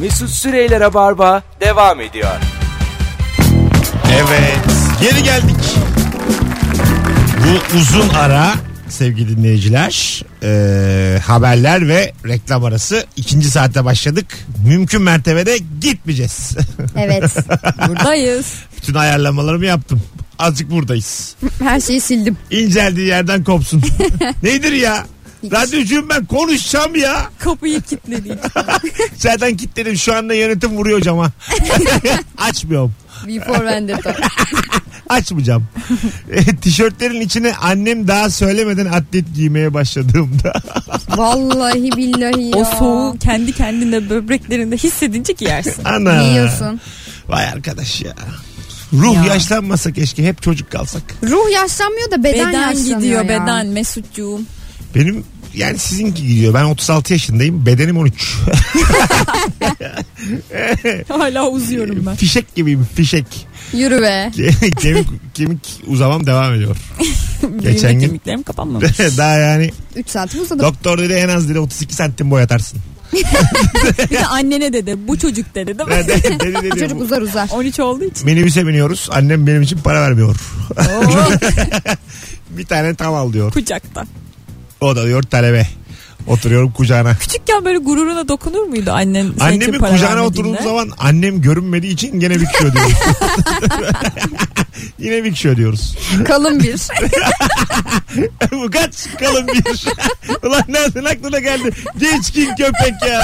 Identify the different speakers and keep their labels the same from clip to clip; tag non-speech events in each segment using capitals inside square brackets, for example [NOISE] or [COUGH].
Speaker 1: Mesut Süreyler'e barba devam ediyor.
Speaker 2: Evet. Geri geldik. Bu uzun ara sevgili dinleyiciler e, haberler ve reklam arası ikinci saatte başladık. Mümkün mertebede gitmeyeceğiz. [LAUGHS]
Speaker 3: Evet. [LAUGHS] Buradayız.
Speaker 2: Bütün ayarlamalarımı yaptım. Azıcık buradayız.
Speaker 3: Her şeyi sildim.
Speaker 2: İnceldiği yerden kopsun. Nedir ya? Radyocuyum ben konuşacağım ya.
Speaker 3: Kapıyı kilitledik.
Speaker 2: Zaten kilitledim şu anda yönetim vuruyor cama. [LAUGHS] Açmıyorum.
Speaker 3: Before Vendetta.
Speaker 2: Açmayacağım. E, tişörtlerin içine annem daha söylemeden atlet giymeye başladığımda. [LAUGHS]
Speaker 3: Vallahi billahi ya.
Speaker 4: O soğuğu kendi kendine böbreklerinde hissedince giyersin.
Speaker 2: Ana.
Speaker 3: Yiyorsun.
Speaker 2: Vay arkadaş ya. Ruh
Speaker 4: Ya.
Speaker 2: yaşlanmasa keşke hep çocuk kalsak.
Speaker 3: Ruh yaşlanmıyor da beden,
Speaker 4: Beden,
Speaker 3: yaşlanıyor
Speaker 4: gidiyor
Speaker 3: ya.
Speaker 4: beden Mesutcuğum.
Speaker 2: Benim yani sizinki gidiyor. Ben 36 yaşındayım. Bedenim 13.
Speaker 4: [LAUGHS] Hala uzuyorum
Speaker 2: [LAUGHS]
Speaker 4: ben.
Speaker 2: fişek gibiyim fişek.
Speaker 3: Yürü be.
Speaker 2: kemik, kemik uzamam devam ediyor.
Speaker 4: Geçen
Speaker 2: Geçen gün-
Speaker 4: kemiklerim
Speaker 2: [LAUGHS]
Speaker 4: kapanmamış.
Speaker 2: Daha yani
Speaker 3: 3 saat uzadı.
Speaker 2: doktor dedi en az dedi 32 santim boyatarsın.
Speaker 4: Bir de annene dedi bu çocuk dedi değil mi?
Speaker 2: dedi, dedi, dedi, bu-
Speaker 3: Çocuk uzar uzar.
Speaker 4: 13
Speaker 2: [LAUGHS]
Speaker 4: olduğu için.
Speaker 2: Minibüse biniyoruz. Annem benim için para vermiyor. [LAUGHS]
Speaker 4: [LAUGHS] Oo,
Speaker 2: Bir tane tam al diyor.
Speaker 4: kucakta.
Speaker 2: O da diyor talebe. Oturuyorum kucağına.
Speaker 4: Küçükken böyle gururuna dokunur muydu annen? senin için
Speaker 2: Annemin
Speaker 4: para
Speaker 2: kucağına
Speaker 4: vermediğinde?
Speaker 2: oturduğum zaman annem görünmediği için gene büküyor
Speaker 3: [LAUGHS]
Speaker 2: diyoruz. Yine büküyor diyoruz.
Speaker 3: [LAUGHS] Kalın [LAUGHS] bir.
Speaker 2: [LAUGHS] Bu kaç kalın bir. Ulan nereden aklına geldi? Geçkin köpek ya.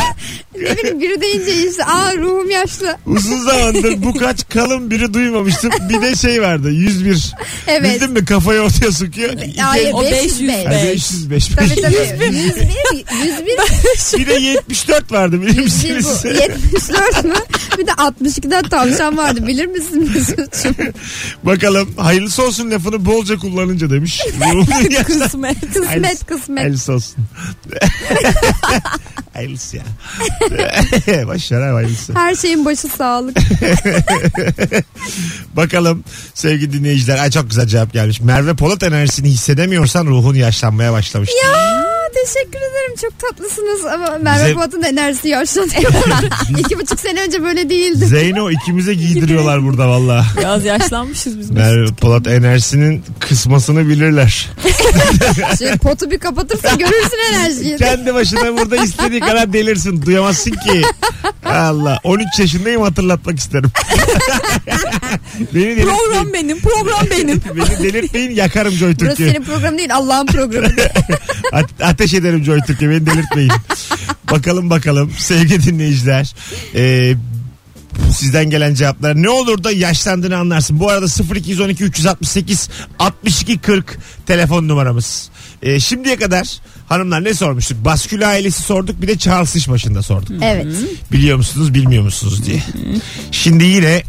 Speaker 3: Ne bileyim, biri deyince işte aa ruhum yaşlı.
Speaker 2: Uzun zamandır bu kaç kalın biri duymamıştım. Bir de şey vardı 101.
Speaker 3: Evet.
Speaker 2: Bildin mi kafayı ortaya sokuyor. İki-
Speaker 3: Hayır
Speaker 4: O
Speaker 3: 505.
Speaker 4: 505.
Speaker 2: Ay, 505.
Speaker 3: Tabii tabii. 101, 101,
Speaker 2: Bir de 74 vardı bilir
Speaker 3: 101
Speaker 2: misiniz?
Speaker 3: bu. 74 mü? Bir de 62'den tavşan vardı bilir misin Mesut'cum?
Speaker 2: Bakalım hayırlısı olsun lafını bolca kullanınca demiş. [LAUGHS] Ruhunun
Speaker 4: [LAUGHS]
Speaker 2: yaşlı-
Speaker 4: Kısmet.
Speaker 2: [LAUGHS]
Speaker 3: Kısmet kısmet.
Speaker 2: Hayırlısı olsun. [LAUGHS] hayırlısı ya. [LAUGHS] Başlar abi hayırlısı.
Speaker 3: Her şeyin başı sağlık.
Speaker 2: Bakalım sevgili dinleyiciler. Ay çok güzel cevap gelmiş. Merve Polat enerjisini hissedemiyorsan ruhun yaşlanmaya başlamış.
Speaker 3: Ya teşekkür ederim çok tatlısınız ama Merve
Speaker 2: Bize-
Speaker 3: Polat'ın enerjisi yaşlanıyor. İki buçuk sene önce böyle
Speaker 2: [LAUGHS]
Speaker 3: değildi.
Speaker 2: Zeyno ikimize giydiriyorlar burada valla.
Speaker 4: Biraz yaşlanmışız biz. Mesut.
Speaker 2: Merve Polat enerjisinin kısmasını bilirler.
Speaker 3: Şey, potu bir kapatırsa görürsün enerjiyi.
Speaker 2: Kendi başına burada istediği kadar delirsin. Duyamazsın ki. Allah. 13 yaşındayım hatırlatmak isterim. [LAUGHS] Beni delirtmeyin.
Speaker 4: Program benim, program
Speaker 2: [LAUGHS]
Speaker 4: benim.
Speaker 2: Beni delirtmeyin yakarım Joy
Speaker 3: Burası
Speaker 2: Türkiye.
Speaker 3: senin programın değil Allah'ın programı.
Speaker 2: A- ateş ederim Joy Türkiye beni delirtmeyin. bakalım bakalım sevgili dinleyiciler. Ee, sizden gelen cevaplar ne olur da yaşlandığını anlarsın. Bu arada 0212 368 62 40 telefon numaramız. Ee, şimdiye kadar hanımlar ne sormuştuk? Baskül ailesi sorduk bir de Charles iş başında sorduk.
Speaker 3: evet.
Speaker 2: Biliyor musunuz bilmiyor musunuz diye. Şimdi yine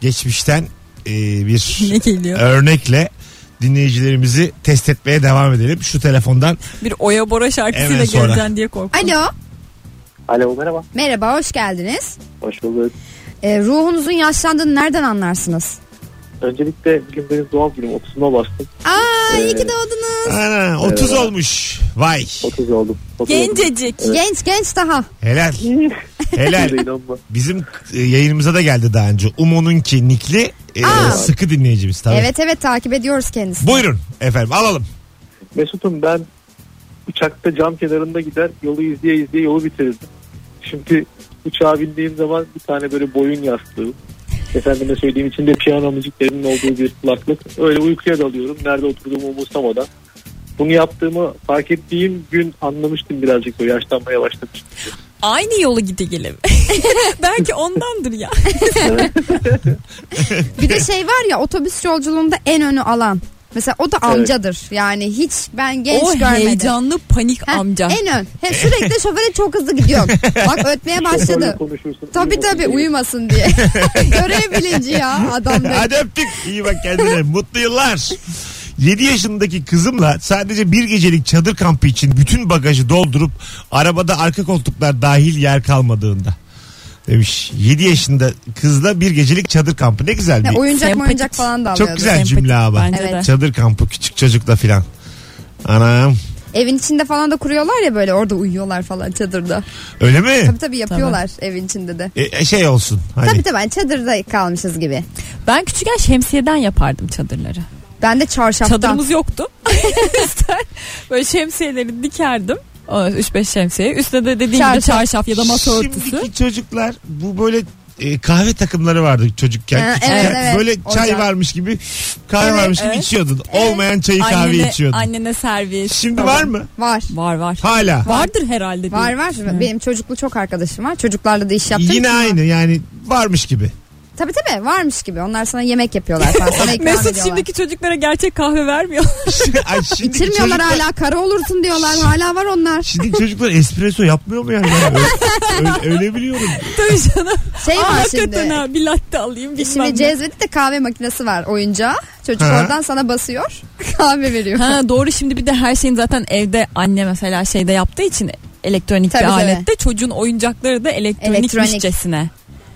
Speaker 2: geçmişten e, bir
Speaker 4: ne geliyor?
Speaker 2: örnekle dinleyicilerimizi test etmeye devam edelim. Şu telefondan
Speaker 4: Bir Oya Bora şarkısıyla
Speaker 2: Hemen sonra.
Speaker 4: geleceksin diye korktum.
Speaker 3: Alo
Speaker 5: Alo merhaba.
Speaker 3: merhaba hoş geldiniz.
Speaker 5: Hoş bulduk.
Speaker 3: Ee, ruhunuzun yaşlandığını nereden anlarsınız?
Speaker 5: Öncelikle bugün benim doğum günüm 30'una bastım.
Speaker 3: Aa iyi
Speaker 5: Ee,
Speaker 3: ki doğdunuz.
Speaker 2: Ana 30
Speaker 5: Eyvallah.
Speaker 2: olmuş. Vay.
Speaker 5: 30 oldum. 30
Speaker 4: Gencecik.
Speaker 3: Genç genç daha.
Speaker 2: Helal.
Speaker 5: oldum.
Speaker 2: Helal.
Speaker 5: İnanma.
Speaker 2: Bizim e, yayınımıza da geldi daha önce. Umo'nunki Nikli e,
Speaker 3: Aa.
Speaker 2: sıkı dinleyicimiz tabii.
Speaker 3: Evet evet takip ediyoruz kendisini.
Speaker 2: Buyurun efendim alalım.
Speaker 5: Mesut'um ben uçakta cam kenarında gider yolu izleye izleye yolu bitirirdim. Şimdi uçağa bindiğim zaman bir tane böyle boyun yastığı. Efendime söyleyeyim içinde piyano müziklerinin olduğu bir kulaklık. Öyle uykuya dalıyorum. Nerede oturduğumu umursamadan. Bunu yaptığımı fark ettiğim gün anlamıştım birazcık o yaşlanmaya başlamıştım.
Speaker 4: Aynı yolu gide gelelim. [LAUGHS] Belki ondandır ya.
Speaker 3: Bir de şey var ya otobüs yolculuğunda en önü alan. Mesela o da amcadır. Yani hiç ben genç
Speaker 4: o
Speaker 3: görmedim.
Speaker 4: heyecanlı panik
Speaker 3: Ha,
Speaker 4: amca.
Speaker 3: En ön. He, sürekli şoföre çok hızlı gidiyor. Bak ötmeye başladı.
Speaker 5: Böyle konuşursun,
Speaker 3: Tabii
Speaker 5: uyumasın
Speaker 3: tabii
Speaker 5: diye.
Speaker 3: uyumasın diye. [LAUGHS] Görev bilinci ya adam benim.
Speaker 2: [LAUGHS] Hadi öptük. İyi bak
Speaker 3: [LAUGHS]
Speaker 2: kendine. Mutlu yıllar. 7 yaşındaki kızımla sadece bir gecelik çadır kampı için bütün bagajı doldurup arabada arka koltuklar dahil yer kalmadığında demiş. 7 yaşında kızla bir gecelik çadır kampı ne güzel bir
Speaker 3: Ne, oyuncak mı
Speaker 4: Sempatik.
Speaker 3: oyuncak falan da
Speaker 2: Çok
Speaker 3: alıyordu.
Speaker 2: güzel
Speaker 4: Sempatik
Speaker 2: cümle ama.
Speaker 4: Bence
Speaker 3: Evet.
Speaker 4: de.
Speaker 2: Çadır kampı küçük çocukla filan. Anam.
Speaker 3: Evin içinde falan da kuruyorlar ya böyle orada uyuyorlar falan çadırda.
Speaker 2: Öyle mi?
Speaker 3: Tabii tabii yapıyorlar evin içinde de.
Speaker 2: E, e, şey olsun. Hani.
Speaker 3: Tabii tabii ben çadırda kalmışız gibi.
Speaker 4: Ben küçükken şemsiyeden yapardım çadırları.
Speaker 3: Ben de çarşaftan.
Speaker 4: Çadırımız yoktu. [LAUGHS] Üstten böyle şemsiyeleri dikerdim. 3-5 şemsiye. Üstüne de dediğim gibi
Speaker 3: Çarşaf.
Speaker 4: çarşaf ya da masa örtüsü.
Speaker 2: Şimdiki çocuklar bu böyle e, kahve takımları vardı çocukken.
Speaker 3: Ha,
Speaker 2: Küçükken
Speaker 3: evet, evet.
Speaker 2: Böyle çay
Speaker 3: Ocak.
Speaker 2: varmış gibi kahve
Speaker 4: Evet,
Speaker 2: varmış gibi
Speaker 4: evet.
Speaker 2: içiyordun. Olmayan çayı kahve
Speaker 4: Annene,
Speaker 2: içiyordun.
Speaker 4: annene servis.
Speaker 2: Şimdi
Speaker 4: falan.
Speaker 2: var mı?
Speaker 3: Var.
Speaker 4: Var var.
Speaker 2: Hala.
Speaker 4: Vardır herhalde. diye
Speaker 3: Var var.
Speaker 4: düşünüyorum.
Speaker 3: Benim çocuklu çok arkadaşım var. Çocuklarla da iş yaptım.
Speaker 2: Yine aynı yani varmış
Speaker 3: [LAUGHS]
Speaker 2: gibi.
Speaker 3: Tabii tabii varmış gibi. Onlar sana yemek yapıyorlar falan. Sana ikram
Speaker 4: [LAUGHS] Mesut
Speaker 3: ediyorlar.
Speaker 4: şimdiki çocuklara gerçek kahve vermiyor. [LAUGHS]
Speaker 2: Ay, şimdiki
Speaker 3: İçirmiyorlar
Speaker 2: çocuklar-
Speaker 3: hala. Kara olursun diyorlar. Hala var onlar.
Speaker 2: Şimdi çocuklar espresso yapmıyor mu yani? Ben öyle, öyle- öyle biliyorum.
Speaker 4: Tabii canım.
Speaker 3: Şey
Speaker 4: Aa,
Speaker 3: var
Speaker 4: hakikaten
Speaker 3: şimdi. E
Speaker 4: ha bir latte alayım bilmem
Speaker 3: Şimdi
Speaker 4: ne.
Speaker 3: cezvede de kahve makinesi var oyuncağı. Çocuk
Speaker 2: Ha.
Speaker 3: oradan sana basıyor. [LAUGHS] Kahve veriyor.
Speaker 4: Ha doğru şimdi bir de her şeyin zaten evde anne mesela şeyde yaptığı için elektronik
Speaker 3: Tabii,
Speaker 4: bir
Speaker 3: tabii.
Speaker 4: alette çocuğun oyuncakları da
Speaker 3: Elektronik.
Speaker 4: elektronikmişçesine.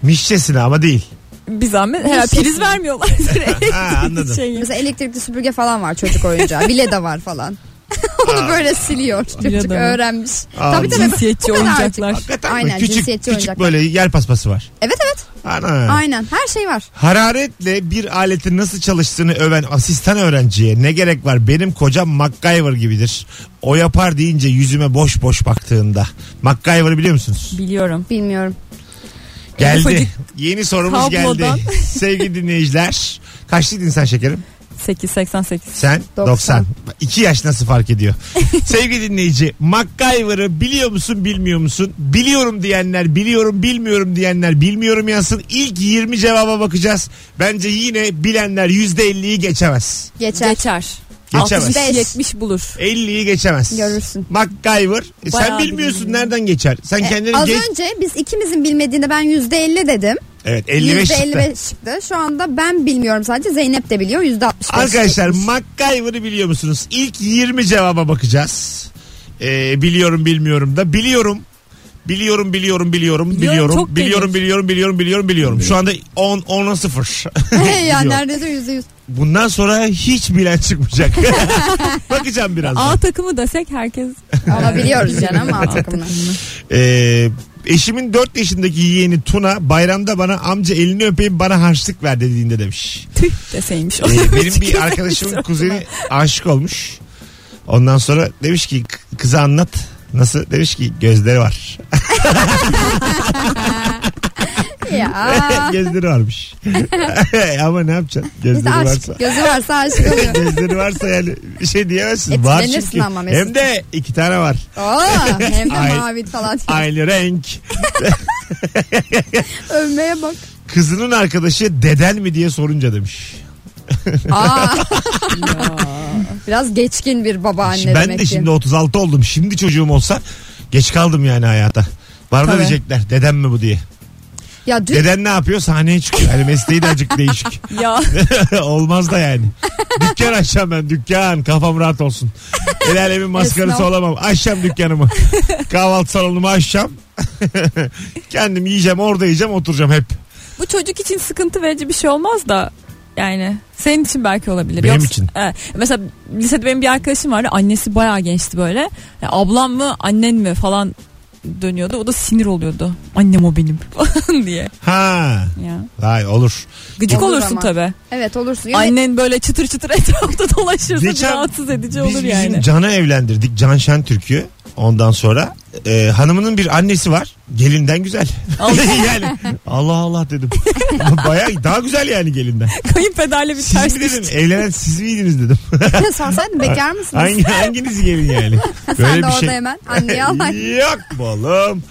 Speaker 2: Mişçesine ama değil.
Speaker 4: Bir zahmet herhalde
Speaker 3: Mişçesine.
Speaker 4: priz vermiyorlar. [LAUGHS] direkt Şey,
Speaker 2: Ha, anladım.
Speaker 4: şeyi.
Speaker 3: Mesela elektrikli süpürge falan var çocuk oyuncağı. Vileda var falan. [LAUGHS] Onu böyle siliyor. Çocuk
Speaker 4: Vileda mı?
Speaker 3: öğrenmiş.
Speaker 2: Aa,
Speaker 3: Tabii tabii.
Speaker 4: Cinsiyetçi
Speaker 3: Bu kadar
Speaker 4: oyuncaklar.
Speaker 2: Hakikaten mi?
Speaker 3: Aynen,
Speaker 2: Küçük,
Speaker 3: cinsiyetçi
Speaker 2: küçük
Speaker 3: oyuncak.
Speaker 2: böyle yer paspası var.
Speaker 3: Evet evet.
Speaker 2: Ana.
Speaker 3: Aynen. Her şey var.
Speaker 2: Hararetle bir aletin nasıl çalıştığını öven asistan öğrenciye ne gerek var benim kocam MacGyver gibidir. O yapar deyince yüzüme boş boş baktığında. MacGyver'ı biliyor musunuz?
Speaker 4: Biliyorum.
Speaker 3: Bilmiyorum.
Speaker 2: Geldi.
Speaker 4: Ufacık
Speaker 2: Yeni sorumuz
Speaker 4: kablodan.
Speaker 2: geldi. Sevgili dinleyiciler. Kaçlıydın sen şekerim?
Speaker 4: 888.
Speaker 2: Sen 90.
Speaker 3: Doksan.
Speaker 2: 2 yaş nasıl fark
Speaker 3: [LAUGHS]
Speaker 2: ediyor? Sevgili dinleyici MacGyver'ı biliyor musun bilmiyor musun? Biliyorum diyenler biliyorum bilmiyorum diyenler bilmiyorum yazsın. İlk 20 cevaba bakacağız. Bence yine bilenler %50'yi geçemez.
Speaker 3: Geçer.
Speaker 4: Geçer.
Speaker 2: Geçemez.
Speaker 4: 65 70 bulur.
Speaker 2: 50'yi geçemez.
Speaker 3: Görürsün. E,
Speaker 2: MacGyver. E, sen
Speaker 4: Bayağı
Speaker 2: bilmiyorsun
Speaker 4: bilmiyorum.
Speaker 2: nereden geçer? Sen kendini
Speaker 3: Az
Speaker 2: geç...
Speaker 3: önce biz ikimizin bilmediğinde ben yüzde elli dedim.
Speaker 2: Evet 55
Speaker 3: Yüzde
Speaker 2: çıktı.
Speaker 3: elli beş çıktı. Şu anda ben bilmiyorum sadece Zeynep de biliyor. Yüzde altmış beş.
Speaker 2: Arkadaşlar MacGyver'ı biliyor musunuz? İlk 20 cevaba bakacağız. Ee, biliyorum bilmiyorum da biliyorum. Biliyorum biliyorum biliyorum
Speaker 4: Biliyorum,
Speaker 2: biliyorum
Speaker 4: çok
Speaker 2: biliyorum
Speaker 4: geniş.
Speaker 2: biliyorum biliyorum biliyorum biliyorum. Şu anda 10 10'a 0.
Speaker 3: [LAUGHS] ya
Speaker 2: Biliyorum.
Speaker 3: neredeyse yüzde yüz.
Speaker 2: [LAUGHS] Bundan sonra hiç bilen
Speaker 4: [LAUGHS]
Speaker 2: çıkmayacak. Bakacağım
Speaker 4: A
Speaker 2: birazdan.
Speaker 4: takımı desek herkes
Speaker 3: Ama biliyoruz yani [LAUGHS] ama
Speaker 4: A
Speaker 3: alt takımını.
Speaker 2: Ee, eşimin 4 yaşındaki yeğeni Tuna bayramda bana amca elini öpeyim bana harçlık ver dediğinde demiş.
Speaker 4: Tüh deseymiş. o.
Speaker 2: Ee,
Speaker 4: [LAUGHS]
Speaker 2: benim bir arkadaşımın kuzeni aşık olmuş. Ondan sonra demiş ki "K- kıza anlat. Nasıl? Demiş ki gözleri
Speaker 3: [LAUGHS]
Speaker 2: var.
Speaker 3: Ya.
Speaker 2: gözleri
Speaker 3: [LAUGHS]
Speaker 2: varmış. Ama ne yapacaksın? Gözleri
Speaker 3: İşte
Speaker 2: varsa.
Speaker 3: aşk. Gözü varsa aşk
Speaker 2: [LAUGHS]
Speaker 3: oluyor.
Speaker 2: gözleri varsa yani bir şey diyemezsin. Var
Speaker 3: Etkilenirsin
Speaker 2: çünkü.
Speaker 3: ama Mesut.
Speaker 2: Hem de iki tane var.
Speaker 3: Aa, hem de
Speaker 2: Ay.
Speaker 3: mavi falan.
Speaker 2: Aynı renk.
Speaker 3: Övmeye bak.
Speaker 2: Kızının arkadaşı deden mi diye sorunca demiş. [LAUGHS]
Speaker 3: Aa. Biraz geçkin bir
Speaker 2: ben
Speaker 3: babaanne demek
Speaker 2: de
Speaker 3: ki.
Speaker 2: şimdi 36 oldum. Şimdi çocuğum olsa geç kaldım yani hayata. Bana da
Speaker 4: Tabii.
Speaker 2: diyecekler dedem mi bu diye.
Speaker 3: Ya dün
Speaker 2: Deden ne yapıyor? Sahneye çıkıyor. Yani mesleği de azıcık değişik.
Speaker 4: ya
Speaker 2: [LAUGHS] Olmaz da yani. Dükkan açacağım ben dükkan. Kafam rahat olsun. El alemin maskarası
Speaker 3: Esnaf.
Speaker 2: olamam. Açacağım dükkanımı. Kahvaltı salonumu açacağım. [LAUGHS] Kendim yiyeceğim orada yiyeceğim oturacağım hep.
Speaker 4: bu çocuk için sıkıntı verici bir şey olmaz da yani senin için belki olabilir.
Speaker 2: Benim için.
Speaker 4: Evet. mesela lisede benim bir arkadaşım vardı. Annesi bayağı gençti böyle. Ya, ablam mı annen mi falan dönüyordu. O da sinir oluyordu. Annem o benim [LAUGHS] falan diye.
Speaker 2: Ha.
Speaker 4: Ya.
Speaker 2: Vay olur.
Speaker 4: Gıcık
Speaker 3: Olur
Speaker 4: olursun
Speaker 3: ama.
Speaker 4: tabi.
Speaker 3: evet olursun. Yani
Speaker 4: Annen böyle çıtır çıtır [LAUGHS] etrafta dolaşırsa
Speaker 2: Geçen
Speaker 4: rahatsız edici
Speaker 2: Biz
Speaker 4: olur
Speaker 2: bizim
Speaker 4: [LAUGHS] yani.
Speaker 2: Can'ı evlendirdik. Can Şentürk'ü. Ondan sonra e, hanımının bir annesi var. Gelinden güzel. [LAUGHS] yani Allah Allah dedim. [LAUGHS] Bayağı daha güzel yani gelinden.
Speaker 4: Kayınpederle bir
Speaker 2: Siz
Speaker 4: ters
Speaker 2: mi dedim?
Speaker 4: düştü.
Speaker 2: Evlenen siz miydiniz dedim. [LAUGHS]
Speaker 3: [LAUGHS] sorsaydın bekar mısınız?
Speaker 2: Hangi, hanginiz gelin yani? şey-
Speaker 3: Sen de orada hemen anneye al.
Speaker 2: Yok bu
Speaker 3: [LAUGHS]
Speaker 2: oğlum.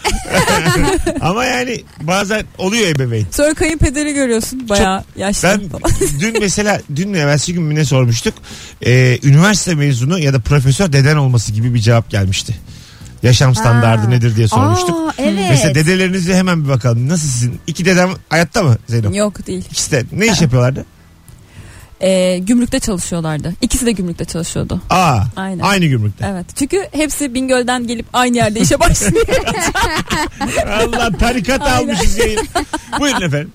Speaker 2: Ama yani bazen oluyor ebeveyn.
Speaker 4: Sonra kayınpederi görüyorsun bayağı yaşlı.
Speaker 2: Ben
Speaker 4: falan.
Speaker 2: dün mesela dün mü evvelsi gün mü ne sormuştuk. Ee, üniversite mezunu ya da profesör deden olması gibi bir cevap gelmişti. Yaşam standardı
Speaker 3: Ha.
Speaker 2: nedir diye sormuştuk.
Speaker 3: Aa, evet.
Speaker 2: Mesela dedelerinize hemen bir bakalım. Nasıl sizin? İki dedem hayatta mı Zeynep?
Speaker 4: Yok değil.
Speaker 2: İkisi de ne iş yapıyorlardı?
Speaker 4: Ee, gümrükte çalışıyorlardı. İkisi de gümrükte çalışıyordu.
Speaker 2: Aa.
Speaker 4: Aynen.
Speaker 2: Aynı gümrükte.
Speaker 4: Evet. Çünkü hepsi Bingöl'den gelip aynı yerde işe başlıyor.
Speaker 2: Allah tarikat
Speaker 4: Aynen.
Speaker 2: almışız yayın. Buyurun efendim.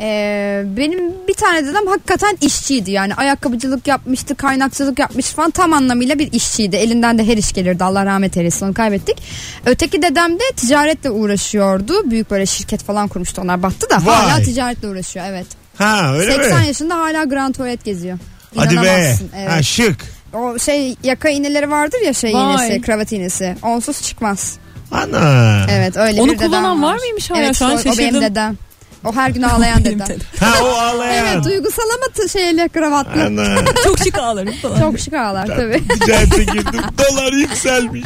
Speaker 3: Ee, benim bir tane dedem hakikaten işçiydi yani ayakkabıcılık yapmıştı kaynakçılık yapmış falan tam anlamıyla bir işçiydi elinden de her iş gelirdi Allah rahmet eylesin onu kaybettik öteki dedem de ticaretle uğraşıyordu büyük böyle şirket falan kurmuştu onlar battı da
Speaker 2: Vay.
Speaker 3: hala ticaretle uğraşıyor evet
Speaker 2: Ha öyle
Speaker 3: 80
Speaker 2: mi?
Speaker 3: yaşında hala Grand Tuvalet geziyor
Speaker 2: Hadi be.
Speaker 3: İnanamazsın, evet.
Speaker 2: Ha şık.
Speaker 3: o şey yaka iğneleri vardır ya şey
Speaker 4: Vay.
Speaker 3: iğnesi kravat iğnesi onsuz çıkmaz
Speaker 2: Ana.
Speaker 3: evet öyle
Speaker 4: [LAUGHS] Onu
Speaker 3: bir dedem
Speaker 4: kullanan var
Speaker 3: var
Speaker 4: mıymış hala
Speaker 3: evet
Speaker 4: şu an
Speaker 3: o, o benim
Speaker 4: şaşırdım.
Speaker 3: dedem o her gün ağlayan
Speaker 4: [LAUGHS] Benim
Speaker 3: dedem
Speaker 4: dedim.
Speaker 2: Ha o ağlayan.
Speaker 3: Evet duygusal ama t- şeyle kravatlı.
Speaker 2: Ana.
Speaker 4: Çok şık ağlarım falan.
Speaker 3: Çok şık
Speaker 2: [LAUGHS]
Speaker 3: ağlar tabii.
Speaker 2: Ticarete girdim. Dolar yükselmiş.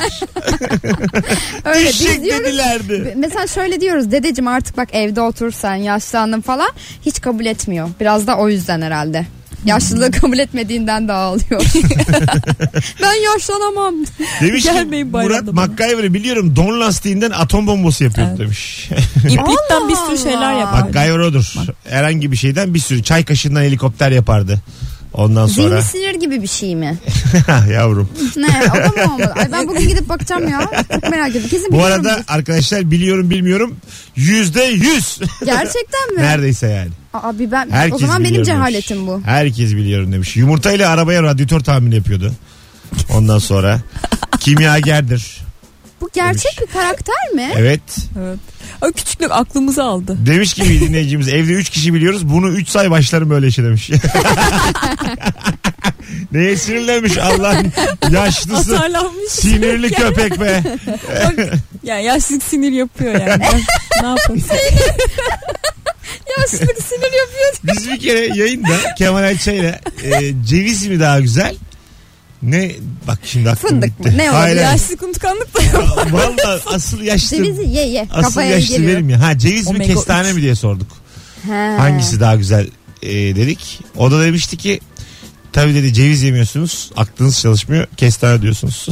Speaker 3: [LAUGHS] Öyle biz
Speaker 2: Şık
Speaker 3: diyoruz.
Speaker 2: dedilerdi.
Speaker 3: Mesela şöyle diyoruz dedeciğim artık bak evde otur sen yaşlandın falan hiç kabul etmiyor. Biraz da o yüzden herhalde. Yaşlılığı
Speaker 2: Hmm.
Speaker 3: kabul etmediğinden daha
Speaker 2: [LAUGHS]
Speaker 3: ağlıyor. ben yaşlanamam.
Speaker 2: Demiş ki
Speaker 4: Gelmeyin bayramda
Speaker 2: Murat
Speaker 4: bana.
Speaker 2: MacGyver'ı biliyorum don lastiğinden atom bombası yapıyordu
Speaker 4: Evet.
Speaker 2: demiş.
Speaker 4: İplikten bir
Speaker 3: Allah
Speaker 4: sürü şeyler
Speaker 3: Allah.
Speaker 2: [LAUGHS]
Speaker 4: yapar.
Speaker 2: MacGyver odur. Herhangi bir şeyden bir sürü çay kaşığından helikopter yapardı. Ondan sonra Ah,
Speaker 3: Zihni
Speaker 2: [LAUGHS]
Speaker 3: sinir gibi bir şey mi?
Speaker 2: yavrum.
Speaker 3: Ne o da mı olmadı? Ay ben bugün gidip bakacağım ya. Çok merak ettim.
Speaker 2: Bu
Speaker 3: Kesin biliyorumdur.
Speaker 2: arada arkadaşlar biliyorum bilmiyorum yüzde yüz.
Speaker 3: Gerçekten
Speaker 2: [LAUGHS]
Speaker 3: mi?
Speaker 2: Neredeyse yani.
Speaker 3: Aa, bir ben,
Speaker 2: Herkes
Speaker 3: o zaman benim
Speaker 2: biliyorum demiş.
Speaker 3: cehaletim bu.
Speaker 2: Herkes biliyorum demiş. Yumurtayla arabaya radyatör tahmin yapıyordu. Ondan
Speaker 3: [LAUGHS]
Speaker 2: sonra kimyagerdir.
Speaker 3: Bu gerçek bir karakter mi?
Speaker 2: Evet.
Speaker 4: Evet. O küçüklük aklımızı aldı.
Speaker 2: Demiş ki bir dinleyicimiz evde 3 kişi biliyoruz. Bunu 3 say başlarım böyle işe demiş. [LAUGHS] Neye sinirlenmiş Allah'ın yaşlısı
Speaker 4: Atarlanmış.
Speaker 2: sinirli köpek be.
Speaker 4: Bak, ya yaşlılık sinir yapıyor yani. [LAUGHS] ne yapalım?
Speaker 3: Yaşlılık sinir yapıyor.
Speaker 2: Biz bir kere yayında Kemal Ayça'yla e, ceviz mi daha güzel? Ne bak şimdi aklım
Speaker 3: Fındık mı?
Speaker 2: gitti.
Speaker 3: Ne oldu?
Speaker 2: Hayır, hayır.
Speaker 4: Yaşlılık unutkanlık da yok.
Speaker 2: Valla asıl yaşlı
Speaker 3: Cevizi ye ye.
Speaker 2: asıl
Speaker 3: Kafaya
Speaker 2: yaşlı
Speaker 3: geliyor.
Speaker 2: benim ya. Ha ceviz mi
Speaker 4: Omega
Speaker 2: kestane
Speaker 4: üç.
Speaker 2: mi diye sorduk.
Speaker 3: Ha.
Speaker 2: Hangisi daha güzel e, dedik. O da demişti ki tabii dedi ceviz yemiyorsunuz. Aklınız çalışmıyor. Kestane diyorsunuz.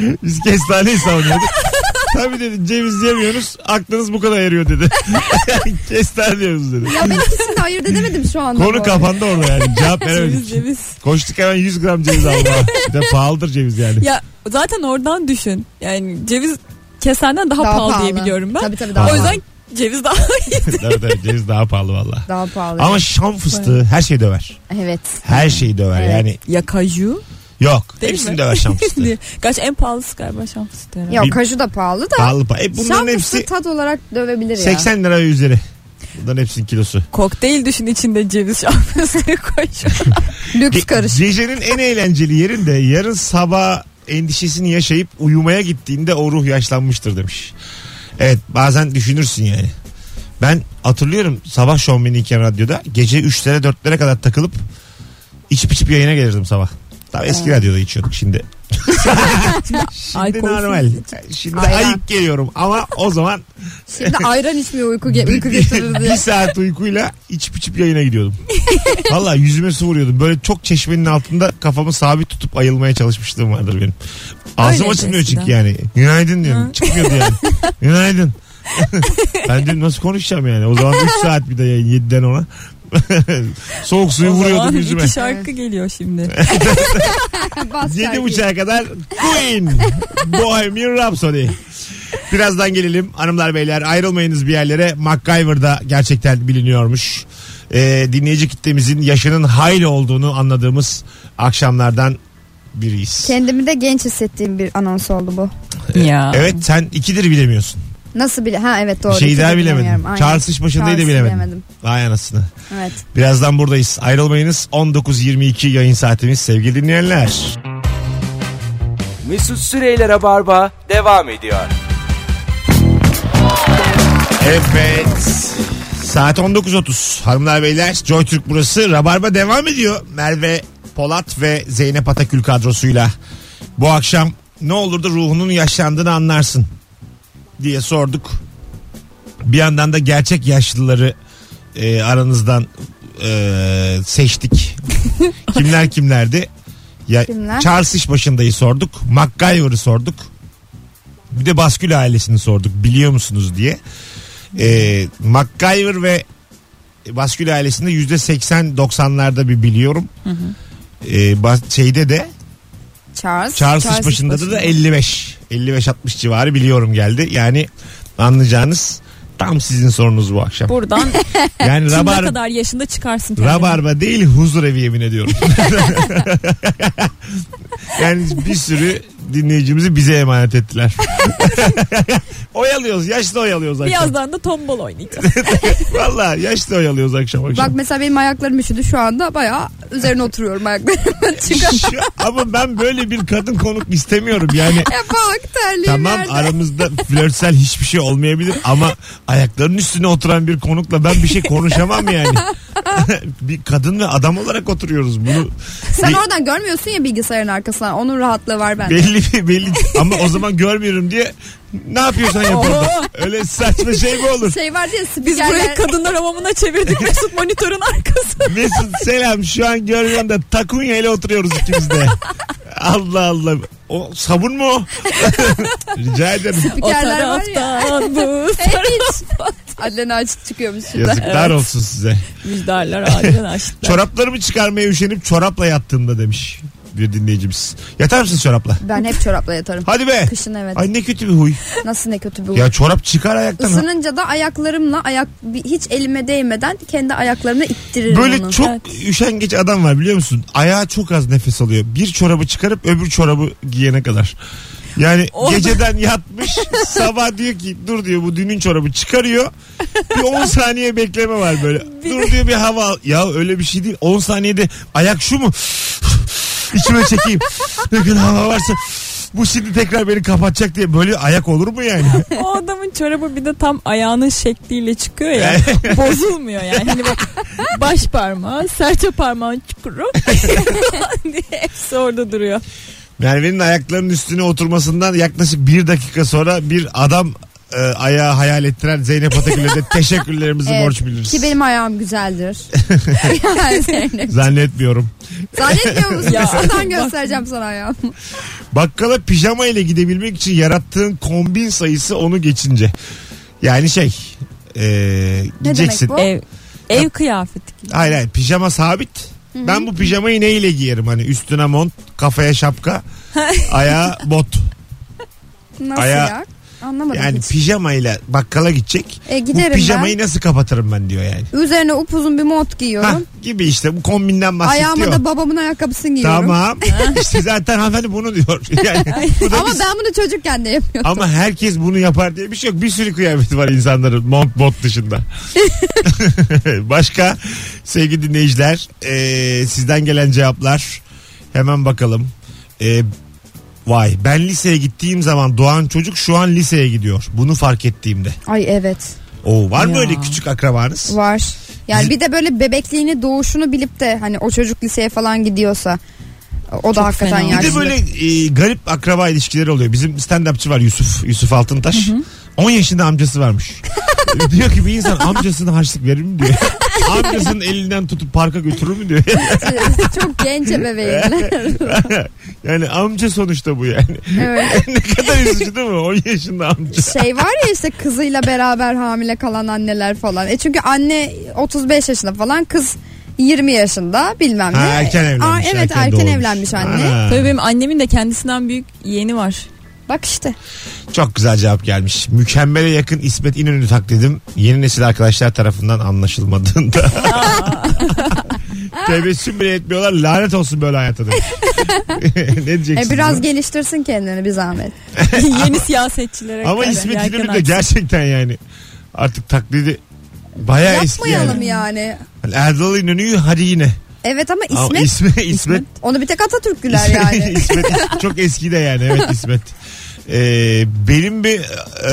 Speaker 2: [LAUGHS] Biz kestaneyi savunuyorduk. Tabii dedi ceviz yemiyoruz. Aklınız bu kadar eriyor dedi. [LAUGHS] kestane diyoruz dedi.
Speaker 3: Ya ben ikisini de ayırt edemedim şu anda. bu
Speaker 2: Konu
Speaker 3: arada.
Speaker 2: kapandı orada yani. Cevap
Speaker 4: Ceviz
Speaker 2: veremedik.
Speaker 4: ceviz.
Speaker 2: Koştuk hemen 100 gram ceviz almaya. Bir de pahalıdır ceviz yani. [LAUGHS]
Speaker 4: Ya zaten oradan düşün. Yani ceviz kesenden daha, pahalı, diye biliyorum ben.
Speaker 3: Tabii tabii daha
Speaker 4: o
Speaker 3: pahalı.
Speaker 4: yüzden ceviz daha
Speaker 2: evet, evet, ceviz daha pahalı valla.
Speaker 3: Daha pahalı.
Speaker 2: Ama şam fıstığı her şeyi döver.
Speaker 3: Evet.
Speaker 2: Her şeyi döver
Speaker 3: Evet.
Speaker 2: yani.
Speaker 4: Ya kaju.
Speaker 2: Yok.
Speaker 4: [LAUGHS] Değil
Speaker 2: hepsini
Speaker 4: mi?
Speaker 2: döver şam fıstığı.
Speaker 4: Gerçi en pahalısı galiba şam fıstığı. herhalde.
Speaker 3: Ya
Speaker 2: Bir-
Speaker 3: kaju da pahalı da.
Speaker 2: Pahalı pa- E bunların
Speaker 3: Şam
Speaker 2: hepsi
Speaker 3: fıstığı tat olarak dövebilir ya.
Speaker 2: 80 lira ve üzeri. Bunların hepsinin kilosu.
Speaker 4: Kokteyl düşün içinde ceviz şam fıstığı [LAUGHS] koyuyor.
Speaker 3: Lüks
Speaker 2: Ge-
Speaker 3: karışık.
Speaker 2: Gecenin en eğlenceli yerinde yarın sabah endişesini yaşayıp uyumaya gittiğinde o ruh yaşlanmıştır demiş. Evet bazen düşünürsün yani. Ben hatırlıyorum sabah şovmeniyken radyoda gece 3'lere 4'lere kadar takılıp içip içip yayına gelirdim sabah. Tabii eski radyoda içiyorduk şimdi. şimdi
Speaker 4: alkolsüz
Speaker 2: normal. Şimdi
Speaker 3: Ayran.
Speaker 2: ayık geliyorum ama o zaman
Speaker 3: Şimdi ayran içmiyor uyku, ge- uyku
Speaker 2: bir, [LAUGHS]
Speaker 3: getirir
Speaker 2: bir
Speaker 3: diye.
Speaker 2: saat uykuyla içip içip yayına gidiyordum. Valla yüzüme su vuruyordum. Böyle çok çeşmenin altında kafamı sabit tutup ayılmaya çalışmışlığım vardır benim. Ağzım
Speaker 4: Öyleydi
Speaker 2: açılmıyor çünkü
Speaker 4: eskiden.
Speaker 2: yani. Günaydın diyorum. Çıkmıyordu yani. Günaydın. ben dedim nasıl konuşacağım yani. O zaman 3 saat bir de yayın 7'den ona. [LAUGHS] Soğuk suyu
Speaker 4: O zaman
Speaker 2: vuruyordum yüzüme.
Speaker 4: iki şarkı geliyor şimdi.
Speaker 3: Bas
Speaker 2: Yedi
Speaker 3: şarkıyı.
Speaker 2: buçuğa kadar Queen Bohemian Rhapsody. Birazdan gelelim hanımlar beyler ayrılmayınız bir yerlere MacGyver'da gerçekten biliniyormuş. Ee, dinleyici kitlemizin yaşının hayli olduğunu anladığımız akşamlardan biriyiz.
Speaker 3: Kendimi de genç hissettiğim bir anons oldu bu.
Speaker 4: ya.
Speaker 2: Evet sen ikidir bilemiyorsun.
Speaker 3: Nasıl bile? Ha evet doğru.
Speaker 2: Bir şeyi
Speaker 3: İki
Speaker 2: daha
Speaker 3: de
Speaker 2: bilemedin.
Speaker 3: bilemiyorum. Aynen.
Speaker 2: Charles başındayı da
Speaker 3: Charles'ı
Speaker 2: bilemedin. Vay anasını.
Speaker 3: Evet.
Speaker 2: Birazdan buradayız. Ayrılmayınız. 19.22 yayın saatimiz sevgili dinleyenler.
Speaker 1: Mesut Süreyler'e barba devam ediyor.
Speaker 2: Evet. Saat 19.30. Hanımlar beyler Joy Türk burası. Rabarba devam ediyor. Merve Polat ve Zeynep Atakül kadrosuyla. Bu akşam ne olur da ruhunun yaşlandığını anlarsın diye sorduk. Bir yandan da gerçek yaşlıları e, aranızdan e, seçtik. Kimler kimlerdi? Ya,
Speaker 3: Kimler?
Speaker 2: Charles İşbaşı'ndayı sorduk. MacGyver'ı sorduk. Bir de Baskül ailesini sorduk biliyor musunuz diye. Ee, MacGyver ve Baskül ailesinde yüzde 80-90'larda bir biliyorum. Ee, bas- şeyde de
Speaker 3: Charles.
Speaker 2: Charles başında da 55 55-60 civarı biliyorum geldi. Yani anlayacağınız tam sizin sorunuz bu akşam.
Speaker 4: Buradan [LAUGHS]
Speaker 2: Yani [LAUGHS]
Speaker 4: ne
Speaker 2: rabar,
Speaker 4: kadar yaşında çıkarsın kendini.
Speaker 2: rabarba değil huzur evi yemin ediyorum. yani bir sürü dinleyicimizi bize emanet ettiler. [LAUGHS] oyalıyoruz. Yaşlı oyalıyoruz akşam.
Speaker 4: Birazdan da tombol oynayacağız.
Speaker 2: Valla yaşlı oyalıyoruz akşam akşam.
Speaker 3: Bak mesela benim ayaklarım üşüdü şu anda bayağı üzerine oturuyorum ayaklarımın çıkıp.
Speaker 2: Şu- Ama ben böyle bir kadın konuk istemiyorum yani.
Speaker 3: [LAUGHS] Ya bak terliğim
Speaker 2: Tamam
Speaker 3: nerede?
Speaker 2: aramızda flörtsel hiçbir şey olmayabilir ama ayaklarının üstüne oturan bir konukla ben bir şey konuşamam yani. [LAUGHS] bir kadın ve adam olarak oturuyoruz bunu.
Speaker 3: Sen
Speaker 2: be-
Speaker 3: oradan görmüyorsun ya bilgisayarın arkasından. Onun rahatlığı var bende.
Speaker 2: belli belli ama o zaman görmüyorum diye ne yapıyorsan yap orada. Öyle saçma şey mi olur?
Speaker 3: Şey var diye
Speaker 4: Biz
Speaker 3: spikerler.
Speaker 4: burayı kadınlar hamamına
Speaker 2: [LAUGHS]
Speaker 4: çevirdik Mesut monitörün arkası.
Speaker 2: Mesut selam şu an görüyorum da takunya ile oturuyoruz ikimiz de. Allah Allah. O sabun mu o? [LAUGHS] Rica ederim.
Speaker 4: O
Speaker 3: spikerler var ya. [LAUGHS]
Speaker 4: taraftan bu
Speaker 3: Hiç. Adlen açık çıkıyormuş şimdi.
Speaker 2: Yazıklar olsun size.
Speaker 4: müjdarlar ağacını açtılar.
Speaker 2: Çoraplarımı çıkarmaya üşenip çorapla yattığımda demiş bir dinleyicimiz. Yatar mısın çorapla?
Speaker 3: Ben hep çorapla yatarım.
Speaker 2: Hadi be.
Speaker 3: Kışın evet.
Speaker 2: Ay ne kötü bir huy.
Speaker 3: Nasıl ne kötü bir
Speaker 2: Ya çorap çıkar ayaktan.
Speaker 3: Isınınca da ayaklarımla ayak bir- hiç elime değmeden kendi ayaklarımla ittiririm
Speaker 2: Böyle
Speaker 3: onu.
Speaker 2: çok üşengeç adam var biliyor musun? Ayağı çok az nefes alıyor. Bir çorabı çıkarıp öbür çorabı giyene kadar. Yani
Speaker 4: Oğlum.
Speaker 2: geceden yatmış [LAUGHS] sabah diyor ki dur diyor bu dünün çorabı çıkarıyor. Bir 10 saniye bekleme var böyle. Dur diyor bir hava al. Ya öyle bir şey değil. 10 saniyede ayak şu mu? [LAUGHS] İçime çekeyim. Ne kadar hava varsa bu şimdi tekrar beni kapatacak diye böyle ayak olur mu yani?
Speaker 4: O adamın çorabı bir de tam ayağının şekliyle çıkıyor ya. [LAUGHS] bozulmuyor yani. Hani bak baş parmağı, serçe parmağın çukuru [LAUGHS] diye hepsi orada duruyor.
Speaker 2: Merve'nin ayaklarının üstüne oturmasından yaklaşık bir dakika sonra bir adam e, ayağı hayal ettiren Zeynep Atakül'e
Speaker 3: [LAUGHS]
Speaker 2: de teşekkürlerimizi
Speaker 3: Evet,
Speaker 2: borç biliriz.
Speaker 3: Ki benim
Speaker 2: [LAUGHS]
Speaker 3: ayağım güzeldir. yani Zeynep.
Speaker 2: Zannetmiyorum.
Speaker 3: Zannetmiyor musun?
Speaker 4: Ya.
Speaker 3: Şuradan göstereceğim sana ayağımı.
Speaker 2: Bakkala pijama ile gidebilmek için yarattığın kombin sayısı onu geçince. Yani şey e, gideceksin.
Speaker 3: demek bu?
Speaker 4: Ev, ev kıyafeti.
Speaker 2: Hayır hayır pijama sabit. Ben bu pijamayı neyle giyerim hani üstüne mont, kafaya
Speaker 3: [LAUGHS]
Speaker 2: şapka, ayağa bot.
Speaker 3: Nasıl
Speaker 2: Ayağı-
Speaker 3: ya? Anlamadım
Speaker 2: Yani
Speaker 3: hiç.
Speaker 2: pijamayla bakkala gidecek.
Speaker 3: E,
Speaker 2: Bu
Speaker 3: giderim
Speaker 2: pijamayı nasıl kapatırım ben diyor yani.
Speaker 3: ben. Üzerine upuzun bir mont
Speaker 2: Hah,
Speaker 3: giyiyorum.
Speaker 2: gibi işte bu kombinden
Speaker 3: Ayağıma
Speaker 2: bahsediyor.
Speaker 3: da babamın ayakkabısını giyiyorum.
Speaker 2: Tamam.
Speaker 3: [LAUGHS]
Speaker 2: işte zaten hanımefendi bunu diyor. [LAUGHS] Yani bu da
Speaker 3: Ama
Speaker 2: bir-
Speaker 3: ben bunu çocukken de yapıyordum.
Speaker 2: ama herkes bunu yapar diye bir şey yok. Bir sürü kıyafeti var insanların mont bot dışında.
Speaker 3: [LAUGHS]
Speaker 2: Başka sevgili dinleyiciler e, sizden gelen cevaplar hemen bakalım. E, vay ben liseye gittiğim zaman doğan çocuk şu an liseye gidiyor. Bunu fark ettiğimde.
Speaker 3: Ay evet
Speaker 2: Oo, var mı
Speaker 4: Ya.
Speaker 2: öyle küçük akrabanız?
Speaker 3: var. Yani bir de böyle bebekliğini doğuşunu bilip de hani o çocuk liseye falan gidiyorsa o da hakikaten
Speaker 4: fena.
Speaker 2: Bir de
Speaker 3: yaşlı.
Speaker 2: böyle e, garip akraba ilişkileri oluyor. Bizim stand-upçı var Yusuf, Yusuf Altıntaş. 10 yaşında amcası varmış. diyor ki bir insan amcasına harçlık verir mi diyor. Amcasının elinden tutup parka götürür mü diyor.
Speaker 3: [LAUGHS] Çok genç ebeveynler. [LAUGHS]
Speaker 2: yani amca sonuçta bu yani. [LAUGHS]
Speaker 3: Evet.
Speaker 2: ne kadar üzücü değil mi? 10 yaşında amca.
Speaker 3: Şey var ya işte kızıyla beraber hamile kalan anneler falan. E çünkü anne 35 yaşında falan kız 20 yaşında bilmem ne.
Speaker 2: Ha, erken evlenmiş.
Speaker 3: Aa, evet erken,
Speaker 2: doğurmuş.
Speaker 3: evlenmiş anne.
Speaker 2: Ha.
Speaker 4: Tabii benim annemin de kendisinden büyük
Speaker 3: [LAUGHS]
Speaker 4: yeğeni var.
Speaker 3: Bak işte.
Speaker 2: Çok güzel cevap gelmiş. Mükemmele yakın İsmet İnönü taklidim yeni nesil arkadaşlar tarafından
Speaker 3: [LAUGHS]
Speaker 2: anlaşılmadığında. Tebessüm bile etmiyorlar. Lanet olsun böyle hayata
Speaker 3: [LAUGHS]
Speaker 2: demiş. ne diyeceksin?
Speaker 3: E biraz geliştirsin kendini bir zahmet.
Speaker 4: Yeni siyasetçilere
Speaker 2: Ama
Speaker 4: karşı
Speaker 2: İsmet
Speaker 4: yelken
Speaker 2: İnönü de
Speaker 4: açtı.
Speaker 2: gerçekten yani artık taklidi bayağı eski
Speaker 3: Yapmayalım
Speaker 2: yani.
Speaker 3: yani.
Speaker 2: Hani Erdal İnönü'yü hadi yine.
Speaker 3: Evet ama
Speaker 2: Ama
Speaker 3: İsmet
Speaker 2: İsmet, İsmet,
Speaker 3: onu bir tek
Speaker 2: [LAUGHS]
Speaker 3: Atatürk güler yani.
Speaker 2: İsmet çok eski de yani evet İsmet. Ee, belim bir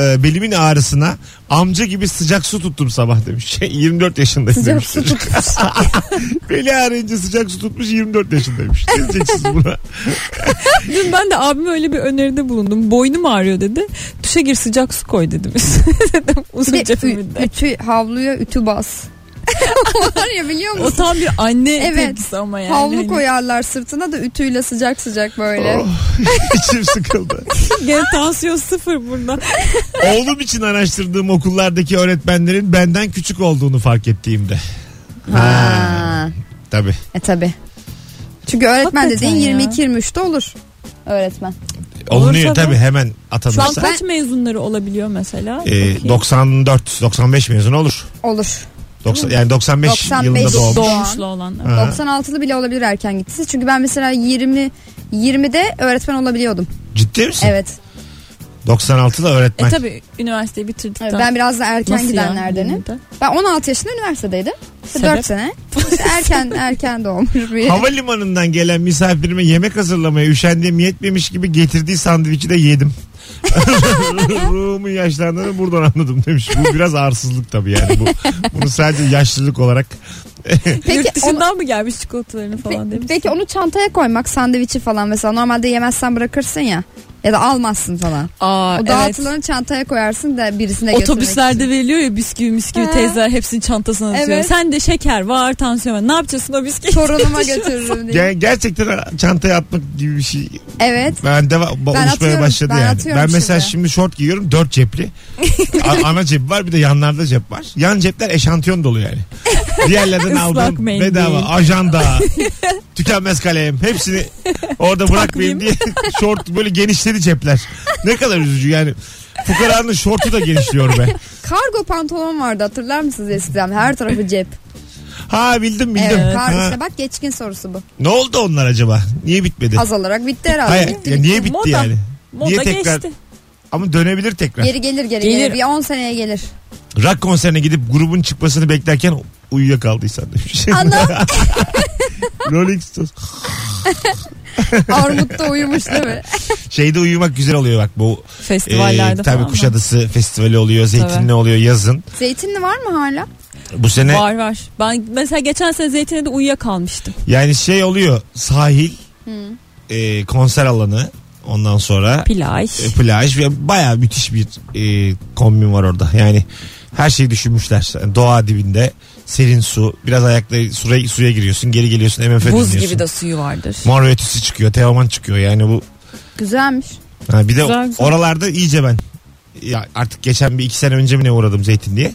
Speaker 2: e, belimin ağrısına amca gibi sıcak su tuttum sabah demiş. [LAUGHS] 24 yaşındayım
Speaker 3: Sıcak
Speaker 2: demiş.
Speaker 3: su
Speaker 2: çocuk.
Speaker 3: tutmuş.
Speaker 2: [LAUGHS] Beli ağrıyınca sıcak su tutmuş 24 yaşındaymış. Ne diyeceksiniz buna?
Speaker 4: Dün ben de abime öyle bir öneride bulundum. Boynum ağrıyor dedi. Duşa gir sıcak su koy dedim. [LAUGHS] dedim
Speaker 3: Bir de
Speaker 4: uzunca
Speaker 3: ü-
Speaker 4: filminde.
Speaker 3: ütü havluya ütü
Speaker 4: [LAUGHS]
Speaker 3: bas. Var ya biliyor
Speaker 4: O
Speaker 3: musun?
Speaker 4: tam bir anne
Speaker 3: Evet.
Speaker 4: tepkisi ama yani.
Speaker 3: Havlu
Speaker 4: Hani [LAUGHS]
Speaker 3: koyarlar sırtına da ütüyle sıcak sıcak böyle.
Speaker 2: Oh, [LAUGHS] içim sıkıldı.
Speaker 4: Gene tansiyon sıfır burada.
Speaker 2: Oğlum için araştırdığım okullardaki öğretmenlerin benden küçük olduğunu fark ettiğimde.
Speaker 3: Ha.
Speaker 2: Tabii.
Speaker 3: E tabi. Çünkü öğretmen
Speaker 4: Hakikaten
Speaker 3: dediğin
Speaker 4: ya.
Speaker 3: 22-23'te olur. Öğretmen.
Speaker 2: Olunuyor
Speaker 4: Olursa da-
Speaker 2: tabii hemen
Speaker 4: Şu an
Speaker 2: atanırsa.
Speaker 4: kaç mezunları olabiliyor mesela?
Speaker 2: Ee,
Speaker 4: Bakayım.
Speaker 2: 94 95 mezun olur.
Speaker 3: Olur.
Speaker 2: Doksan- yani 95,
Speaker 3: 95
Speaker 2: yılında doğmuş.
Speaker 3: doğum.
Speaker 4: Doğmuşlu olan.
Speaker 2: Ha.
Speaker 3: 96'lı bile olabilir erken gitsin. Çünkü ben mesela 20 20'de öğretmen olabiliyordum.
Speaker 2: Ciddi misin?
Speaker 3: Evet.
Speaker 2: 96'da öğretmen.
Speaker 4: E tabi üniversiteyi bitirdikten
Speaker 3: Evet, Ben biraz da erken
Speaker 4: Nasıl ya?
Speaker 3: gidenlerdenim.
Speaker 4: Yirmi de?
Speaker 3: Ben 16 yaşında üniversitedeydim. İşte
Speaker 4: Sebep?
Speaker 3: 4 sene. İşte
Speaker 4: [LAUGHS]
Speaker 3: erken erken doğmuş bir.
Speaker 2: Havalimanından gelen misafirime yemek hazırlamaya üşendiğim yetmemiş gibi getirdiği sandviçi de yedim. Ruhumun yaşlandığını buradan anladım demiş. Bu biraz arsızlık tabii yani. Bu, bunu sadece yaşlılık olarak.
Speaker 3: Peki
Speaker 4: Yurt dışından mı gelmiş çikolatalarını falan
Speaker 3: Pe-
Speaker 4: demiş.
Speaker 3: Peki onu çantaya koymak sandviçi falan mesela normalde yemezsen bırakırsın ya ya da almazsın falan.
Speaker 4: Aa,
Speaker 3: O
Speaker 4: evet.
Speaker 3: dağıtılanı çantaya koyarsın da birisine götürmek
Speaker 4: Otobüslerde
Speaker 3: için.
Speaker 4: veriliyor ya bisküvi misküvi
Speaker 3: Ha.
Speaker 4: teyzeler hepsini çantasına atıyor.
Speaker 3: Evet.
Speaker 4: Sen de şeker var tansiyon var. Ne yapacaksın o bisküvi? [LAUGHS]
Speaker 3: torunuma götürürüm diye.
Speaker 2: Ger- gerçekten çantaya atmak gibi bir şey
Speaker 3: Evet.
Speaker 2: ben de va-
Speaker 3: Ben
Speaker 2: oluşmaya
Speaker 3: atıyorum,
Speaker 2: başladı
Speaker 3: ben
Speaker 2: yani.
Speaker 3: atıyorum
Speaker 2: Ben mesela
Speaker 3: şimdi.
Speaker 2: şimdi şort giyiyorum dört cepli. A-
Speaker 3: [LAUGHS]
Speaker 2: ana cep var bir de yanlarda cep var. Yan cepler eşantiyon dolu yani. Diğerlerden
Speaker 4: Islak
Speaker 2: aldığım
Speaker 4: mendil.
Speaker 2: bedava
Speaker 3: [LAUGHS]
Speaker 2: ajanda, tükenmez kalem hepsini orada bırakmayayım diye [LAUGHS] şort böyle genişledi cepler. Ne kadar üzücü yani. Fukaranın şortu da genişliyor be.
Speaker 3: Kargo pantolon vardı hatırlar mısınız eskiden? Her tarafı
Speaker 4: [LAUGHS]
Speaker 3: cep.
Speaker 2: Ha bildim bildim.
Speaker 3: Evet. Kar-
Speaker 2: Ha,
Speaker 3: işte bak geçkin sorusu bu.
Speaker 2: Ne oldu onlar acaba? Niye bitmedi?
Speaker 3: Azalarak bitti herhalde.
Speaker 2: Hayır, ya niye bitti
Speaker 4: Moda.
Speaker 2: yani?
Speaker 4: Moda
Speaker 2: Niye tekrar-
Speaker 4: geçti.
Speaker 2: Ama dönebilir tekrar.
Speaker 3: Geri gelir geri gelir.
Speaker 4: Gelir.
Speaker 3: Bir 10 seneye gelir.
Speaker 2: Rock konserine gidip grubun çıkmasını beklerken uyuyakaldıysan demiş.
Speaker 3: Ana
Speaker 2: [LAUGHS] Rolling Stones.
Speaker 3: armutta uyumuş değil mi?
Speaker 2: Şeyde uyumak güzel oluyor bak bu. e,
Speaker 4: Festivallerde
Speaker 2: tabii
Speaker 4: falan. mı?
Speaker 2: Kuşadası Festivali oluyor, Zeytinli
Speaker 4: Tabii.
Speaker 2: oluyor yazın.
Speaker 3: Zeytinli var mı hala?
Speaker 2: Bu sene
Speaker 4: Var var. Ben mesela geçen sene Zeytin'de uyuyakalmıştım.
Speaker 2: yani şey oluyor sahil,
Speaker 3: Hı.
Speaker 2: e, konser alanı ondan sonra
Speaker 4: Plaj.
Speaker 2: e, plaj ve baya müthiş bir e, kombin var orada. Yani her şeyi düşünmüşler. Yani doğa dibinde serin su, biraz ayakları suya, suya giriyorsun, geri geliyorsun MF
Speaker 4: Buz
Speaker 2: dinliyorsun.
Speaker 4: gibi de suyu vardır.
Speaker 2: Mor ve ötesi çıkıyor, Teoman çıkıyor. Yani bu
Speaker 3: Güzelmiş.
Speaker 2: Ha, bir de
Speaker 4: Güzel, güzel.
Speaker 2: oralarda iyice ben ya artık geçen bir iki sene önce mi ne uğradım Zeytinli'ye.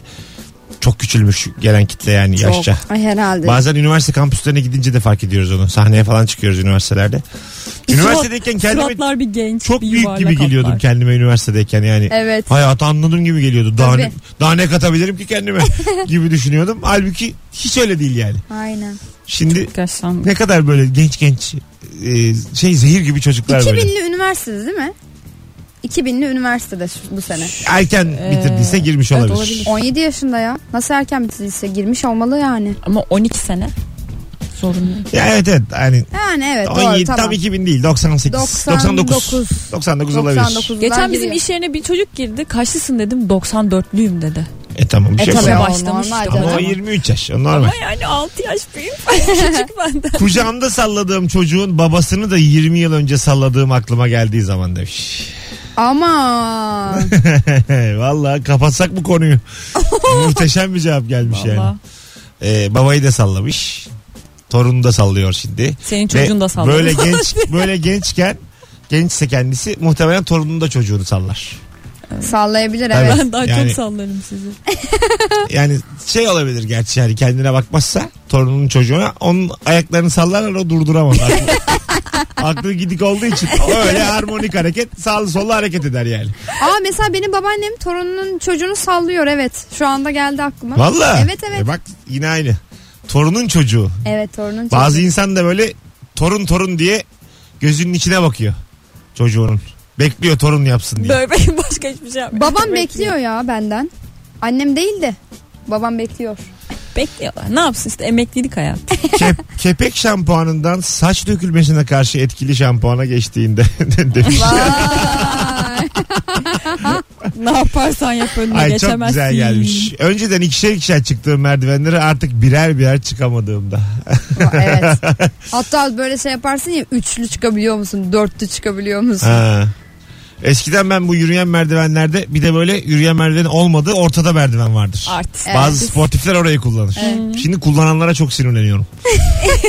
Speaker 2: Çok küçülmüş gelen kitle yani
Speaker 4: Çok.
Speaker 2: yaşça.
Speaker 3: Ay herhalde.
Speaker 2: Bazen üniversite kampüslerine gidince de fark ediyoruz onu. Sahneye falan çıkıyoruz üniversitelerde.
Speaker 4: Bir
Speaker 2: Üniversitedeyken kendime
Speaker 4: Suratlar bir genç.
Speaker 2: çok
Speaker 4: bir
Speaker 2: büyük
Speaker 4: yuvarlak
Speaker 2: gibi geliyordum
Speaker 4: hatlar.
Speaker 2: kendime üniversitedeyken yani.
Speaker 3: Evet.
Speaker 2: Hayatı anladığım gibi geliyordu. Daha
Speaker 3: Tabii.
Speaker 2: ne, daha ne katabilirim ki kendime
Speaker 4: [LAUGHS]
Speaker 2: gibi düşünüyordum. Halbuki hiç öyle değil yani.
Speaker 3: Aynen.
Speaker 2: Şimdi
Speaker 4: Gerçekten.
Speaker 2: ne kadar böyle genç genç e, şey zehir gibi çocuklar böyle.
Speaker 3: 2000'li üniversitede değil mi? 2000'li üniversitede şu- bu sene.
Speaker 2: Erken bitirdiyse
Speaker 4: Ee,
Speaker 2: girmiş
Speaker 4: evet,
Speaker 2: olabilir.
Speaker 4: olabilir.
Speaker 3: 17 yaşında ya. Nasıl erken bitirdiyse girmiş olmalı yani.
Speaker 4: Ama 12 sene. Sorun yok.
Speaker 2: Ya evet evet yani
Speaker 3: Yani
Speaker 4: E,
Speaker 3: evet doğru
Speaker 2: 17
Speaker 3: tamam.
Speaker 2: tam 2000 değil 98 99
Speaker 3: 99.
Speaker 2: 99 olabilir.
Speaker 3: 99'dan
Speaker 4: Geçen bizim
Speaker 3: giriyor.
Speaker 4: iş yerine bir çocuk girdi. Kaçlısın dedim. 94'lüyüm dedi.
Speaker 2: E tamam bir
Speaker 4: E
Speaker 2: şey
Speaker 4: tabii
Speaker 2: yok.
Speaker 3: o
Speaker 4: başlamış.
Speaker 3: normal
Speaker 4: işte.
Speaker 2: Ama o
Speaker 3: Tamam.
Speaker 2: 23 yaş o normal.
Speaker 4: Ama yani 6 yaş
Speaker 2: [LAUGHS]
Speaker 4: büyük. Küçük benden.
Speaker 2: Kucağımda salladığım çocuğun babasını da 20 yıl önce salladığım aklıma geldiği zaman demiş. [LAUGHS]
Speaker 3: Ama
Speaker 2: Vallahi kapatsak bu
Speaker 4: [LAUGHS]
Speaker 2: konuyu. Muhteşem bir cevap gelmiş yani.
Speaker 4: Vallahi.
Speaker 2: Ee, babayı da sallamış. Torunu da sallıyor şimdi.
Speaker 4: Senin
Speaker 2: Ve
Speaker 4: çocuğun da salladı.
Speaker 2: Böyle genç böyle gençken gençse kendisi muhtemelen torununu da çocuğunu sallar.
Speaker 3: sallayabilir
Speaker 2: Tabii.
Speaker 3: evet.
Speaker 4: [LAUGHS] Ben daha
Speaker 2: Yani-
Speaker 4: çok sallarım sizi.
Speaker 2: yani şey olabilir gerçi yani kendine bakmazsa torununun çocuğuna onun ayaklarını sallarlar o
Speaker 3: [LAUGHS]
Speaker 2: durduramaz. Aklı, aklı gidik olduğu için öyle harmonik hareket sağlı sollu hareket eder yani.
Speaker 3: Aa mesela benim babaannem torununun çocuğunu sallıyor evet. Şu anda geldi aklıma.
Speaker 2: Valla.
Speaker 3: Evet, evet.
Speaker 2: E bak yine aynı. Torunun çocuğu.
Speaker 3: Evet torunun çocuğu.
Speaker 2: Bazı insan da böyle torun torun diye gözünün içine bakıyor çocuğunun. Bekliyor torun yapsın diye.
Speaker 4: Böyle [LAUGHS] benim başka hiçbir şey yapmıyorum.
Speaker 3: Babam bekliyor ya benden. Annem değil de.
Speaker 2: [LAUGHS]
Speaker 3: Babam bekliyor.
Speaker 4: Bekliyorlar. Ne yapsın işte emeklilik hayatı.
Speaker 2: Kep- kepek şampuanından saç dökülmesine karşı etkili şampuana geçtiğinde [LAUGHS] demiş.
Speaker 3: Vay.
Speaker 4: ne yaparsan yap önüne
Speaker 2: Ay
Speaker 4: geçemezsin.
Speaker 2: çok güzel gelmiş. Önceden ikişer ikişer çıktığım merdivenleri artık birer birer çıkamadığımda.
Speaker 3: evet. Hatta böyle şey yaparsın ya üçlü çıkabiliyor musun? Dörtlü çıkabiliyor musun?
Speaker 2: Ha. Eskiden ben bu yürüyen merdivenlerde bir de böyle yürüyen merdiven olmadığı ortada merdiven vardır.
Speaker 4: Art.
Speaker 3: Evet.
Speaker 2: Bazı sportifler orayı kullanır.
Speaker 3: Evet.
Speaker 2: Şimdi kullananlara çok sinirleniyorum.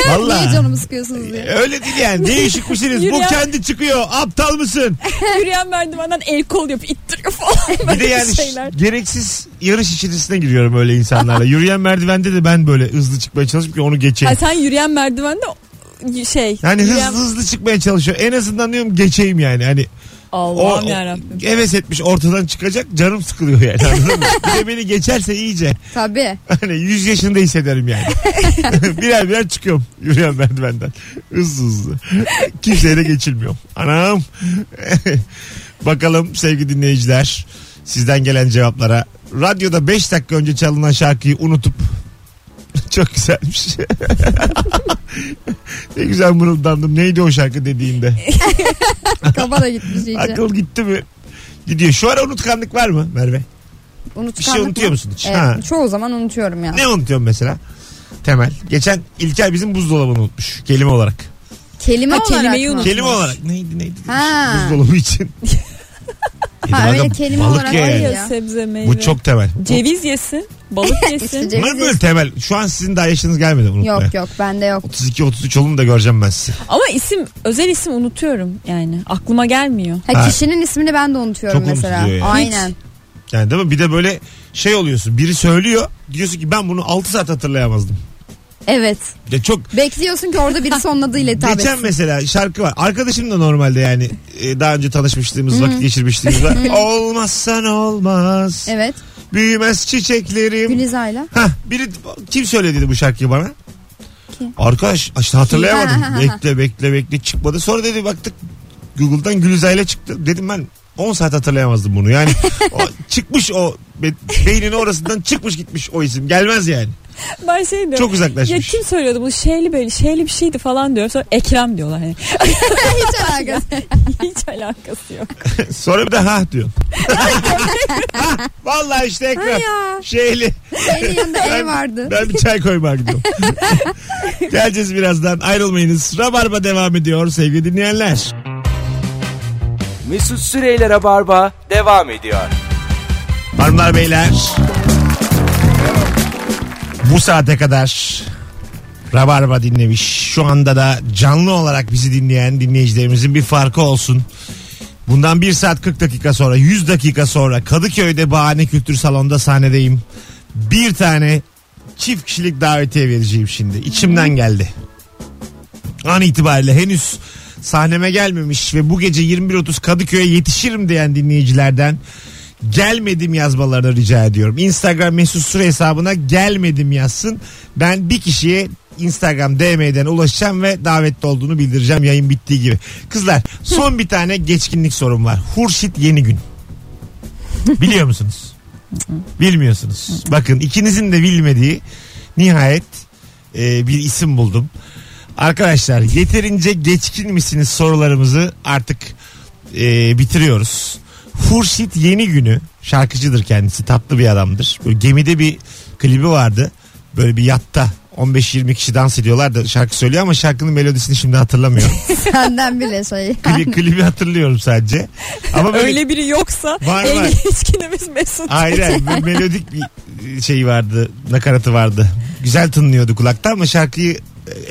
Speaker 3: Niye
Speaker 2: Valla.
Speaker 3: canımı sıkıyorsunuz diye.
Speaker 2: Öyle değil yani. Değişik misiniz? bu
Speaker 4: Yürüyen-
Speaker 2: kendi çıkıyor. Aptal mısın?
Speaker 4: Yürüyen merdivenden el kol yapıp ittiriyor falan.
Speaker 2: [LAUGHS] Bir de
Speaker 4: Böyle
Speaker 2: yani
Speaker 4: şeyler.
Speaker 2: gereksiz yarış içerisine giriyorum öyle insanlarla. Yürüyen merdivende de ben böyle hızlı çıkmaya çalışıp ki onu geçeyim.
Speaker 4: Ha, sen yürüyen merdivende şey.
Speaker 2: Yani
Speaker 4: yürüyen-
Speaker 2: hızlı hızlı çıkmaya çalışıyor. En azından diyorum geçeyim yani. Hani
Speaker 4: Allah'ım yarabbim.
Speaker 2: heves etmiş ortadan çıkacak canım sıkılıyor yani anladın mı? Bir de beni geçerse iyice
Speaker 3: Tabii.
Speaker 2: hani 100 yaşında hissederim yani. birer birer çıkıyorum yürüyorum merdivenden. Hızlı hızlı. Kimseye de geçilmiyorum. Anam. [LAUGHS] Bakalım sevgili dinleyiciler sizden gelen cevaplara. Radyoda 5 dakika önce çalınan şarkıyı unutup [LAUGHS] çok güzelmiş. [LAUGHS] ne güzel mırıldandım. Neydi o şarkı dediğinde?
Speaker 3: Kafa da gitmiş iyice.
Speaker 2: Akıl gitti mi? Gidiyor. Şu ara unutkanlık var mı Merve?
Speaker 3: Unutkanlık
Speaker 2: Bir şey unutuyor
Speaker 3: mı?
Speaker 2: musun hiç?
Speaker 3: Evet,
Speaker 2: Ha.
Speaker 3: Çoğu zaman unutuyorum ya.
Speaker 2: Ne unutuyorsun mesela? Temel. Geçen İlker bizim buzdolabını unutmuş kelime olarak.
Speaker 3: Kelime
Speaker 4: Ha,
Speaker 3: olarak
Speaker 4: kelimeyi
Speaker 3: mı? [LAUGHS]
Speaker 4: unut-
Speaker 2: Kelime olarak neydi neydi? demiş.
Speaker 3: Ha.
Speaker 2: Buzdolabı
Speaker 3: [LAUGHS]
Speaker 2: için. Dedim,
Speaker 3: Ha, öyle
Speaker 2: aga,
Speaker 3: kelime
Speaker 2: balık
Speaker 3: olarak
Speaker 2: ye.
Speaker 3: hayır.
Speaker 4: Ya,
Speaker 3: Ya.
Speaker 4: sebze meyve.
Speaker 2: Bu çok temel.
Speaker 4: Ceviz yesin,
Speaker 2: [LAUGHS]
Speaker 4: balık yesin.
Speaker 3: Ceviz
Speaker 2: Bunlar böyle
Speaker 3: yesin.
Speaker 2: temel. Şu an sizin daha yaşınız gelmedi unutmaya.
Speaker 3: Yok yok bende yok.
Speaker 2: 32-33 olun da göreceğim ben sizi.
Speaker 4: Ama isim, özel isim unutuyorum yani. Aklıma gelmiyor.
Speaker 3: Ha,
Speaker 2: Ha.
Speaker 3: Kişinin ismini ben de unutuyorum
Speaker 2: Çok
Speaker 3: mesela.
Speaker 2: unutuluyor yani.
Speaker 3: Aynen.
Speaker 2: Yani değil mi? Bir de böyle şey oluyorsun. Biri söylüyor. Diyorsun ki ben bunu 6 saat hatırlayamazdım.
Speaker 3: Evet.
Speaker 2: Ya çok
Speaker 3: Bekliyorsun ki orada birisi onun adıyla hitap
Speaker 2: Geçen
Speaker 3: etsin.
Speaker 2: mesela şarkı var. Arkadaşım da normalde yani e, daha önce tanışmışlığımız, vakit geçirmişliğimiz var. Olmazsan olmaz.
Speaker 3: Evet.
Speaker 2: Büyümez çiçeklerim.
Speaker 3: Gülizay'la. [LAUGHS]
Speaker 2: Hah, biri kim söyledi bu şarkıyı bana?
Speaker 3: Kim?
Speaker 2: Arkadaş işte hatırlayamadım.
Speaker 3: [LAUGHS] Ha, ha, ha, ha.
Speaker 2: bekle bekle bekle çıkmadı. Sonra dedi baktık Google'dan Gülizay'la çıktı. Dedim ben 10 saat hatırlayamazdım bunu.
Speaker 3: [LAUGHS]
Speaker 2: Yani o, çıkmış o be- beynin orasından çıkmış gitmiş o isim. Gelmez yani. [LAUGHS]
Speaker 4: Ben şey diyorum.
Speaker 2: Çok uzaklaşmış.
Speaker 4: Ya kim söylüyordu bu şeyli böyle şeyli bir şeydi falan diyor. Sonra Ekrem diyorlar hani. [LAUGHS]
Speaker 3: Hiç alakası.
Speaker 4: Hiç alakası yok.
Speaker 2: Sonra bir de ha diyor. [LAUGHS] Ha, Vallahi işte Ekrem.
Speaker 3: ya.
Speaker 2: Şeyli.
Speaker 3: Senin yanında E vardı.
Speaker 2: Ben bir çay koymaya
Speaker 3: [LAUGHS]
Speaker 2: gidiyorum. Geleceğiz birazdan ayrılmayınız. Rabarba devam ediyor sevgili dinleyenler.
Speaker 1: Mesut Süreyler'e barba devam ediyor.
Speaker 2: Hanımlar beyler. Bu saate kadar Rabarba dinlemiş. Şu anda da canlı olarak bizi dinleyen dinleyicilerimizin bir farkı olsun. Bundan 1 saat 40 dakika sonra 100 dakika sonra Kadıköy'de Bahane Kültür Salonu'nda sahnedeyim. Bir tane çift kişilik davetiye vereceğim şimdi. İçimden geldi. An itibariyle henüz sahneme gelmemiş ve bu gece 21.30 Kadıköy'e yetişirim diyen dinleyicilerden gelmedim yazmalarını rica ediyorum. Instagram mesut süre hesabına gelmedim yazsın. Ben bir kişiye Instagram DM'den ulaşacağım ve davetli olduğunu bildireceğim yayın bittiği gibi. Kızlar son bir tane geçkinlik sorum var. Hurşit yeni gün. Biliyor musunuz? Bilmiyorsunuz. Bakın ikinizin de bilmediği nihayet e, bir isim buldum. Arkadaşlar yeterince geçkin misiniz sorularımızı artık e, bitiriyoruz. Hurşit Yeni Günü şarkıcıdır kendisi tatlı bir adamdır. Böyle gemide bir klibi vardı böyle bir yatta 15-20 kişi dans ediyorlar da şarkı söylüyor ama şarkının melodisini şimdi hatırlamıyorum.
Speaker 3: Senden bile şey.
Speaker 2: Kli, klibi hatırlıyorum sadece. Ama böyle
Speaker 4: Öyle biri yoksa
Speaker 2: Var,
Speaker 4: en
Speaker 2: var.
Speaker 4: geçkinimiz Mesut.
Speaker 2: Aynen bir melodik bir şey vardı nakaratı vardı. Güzel tınlıyordu kulakta ama şarkıyı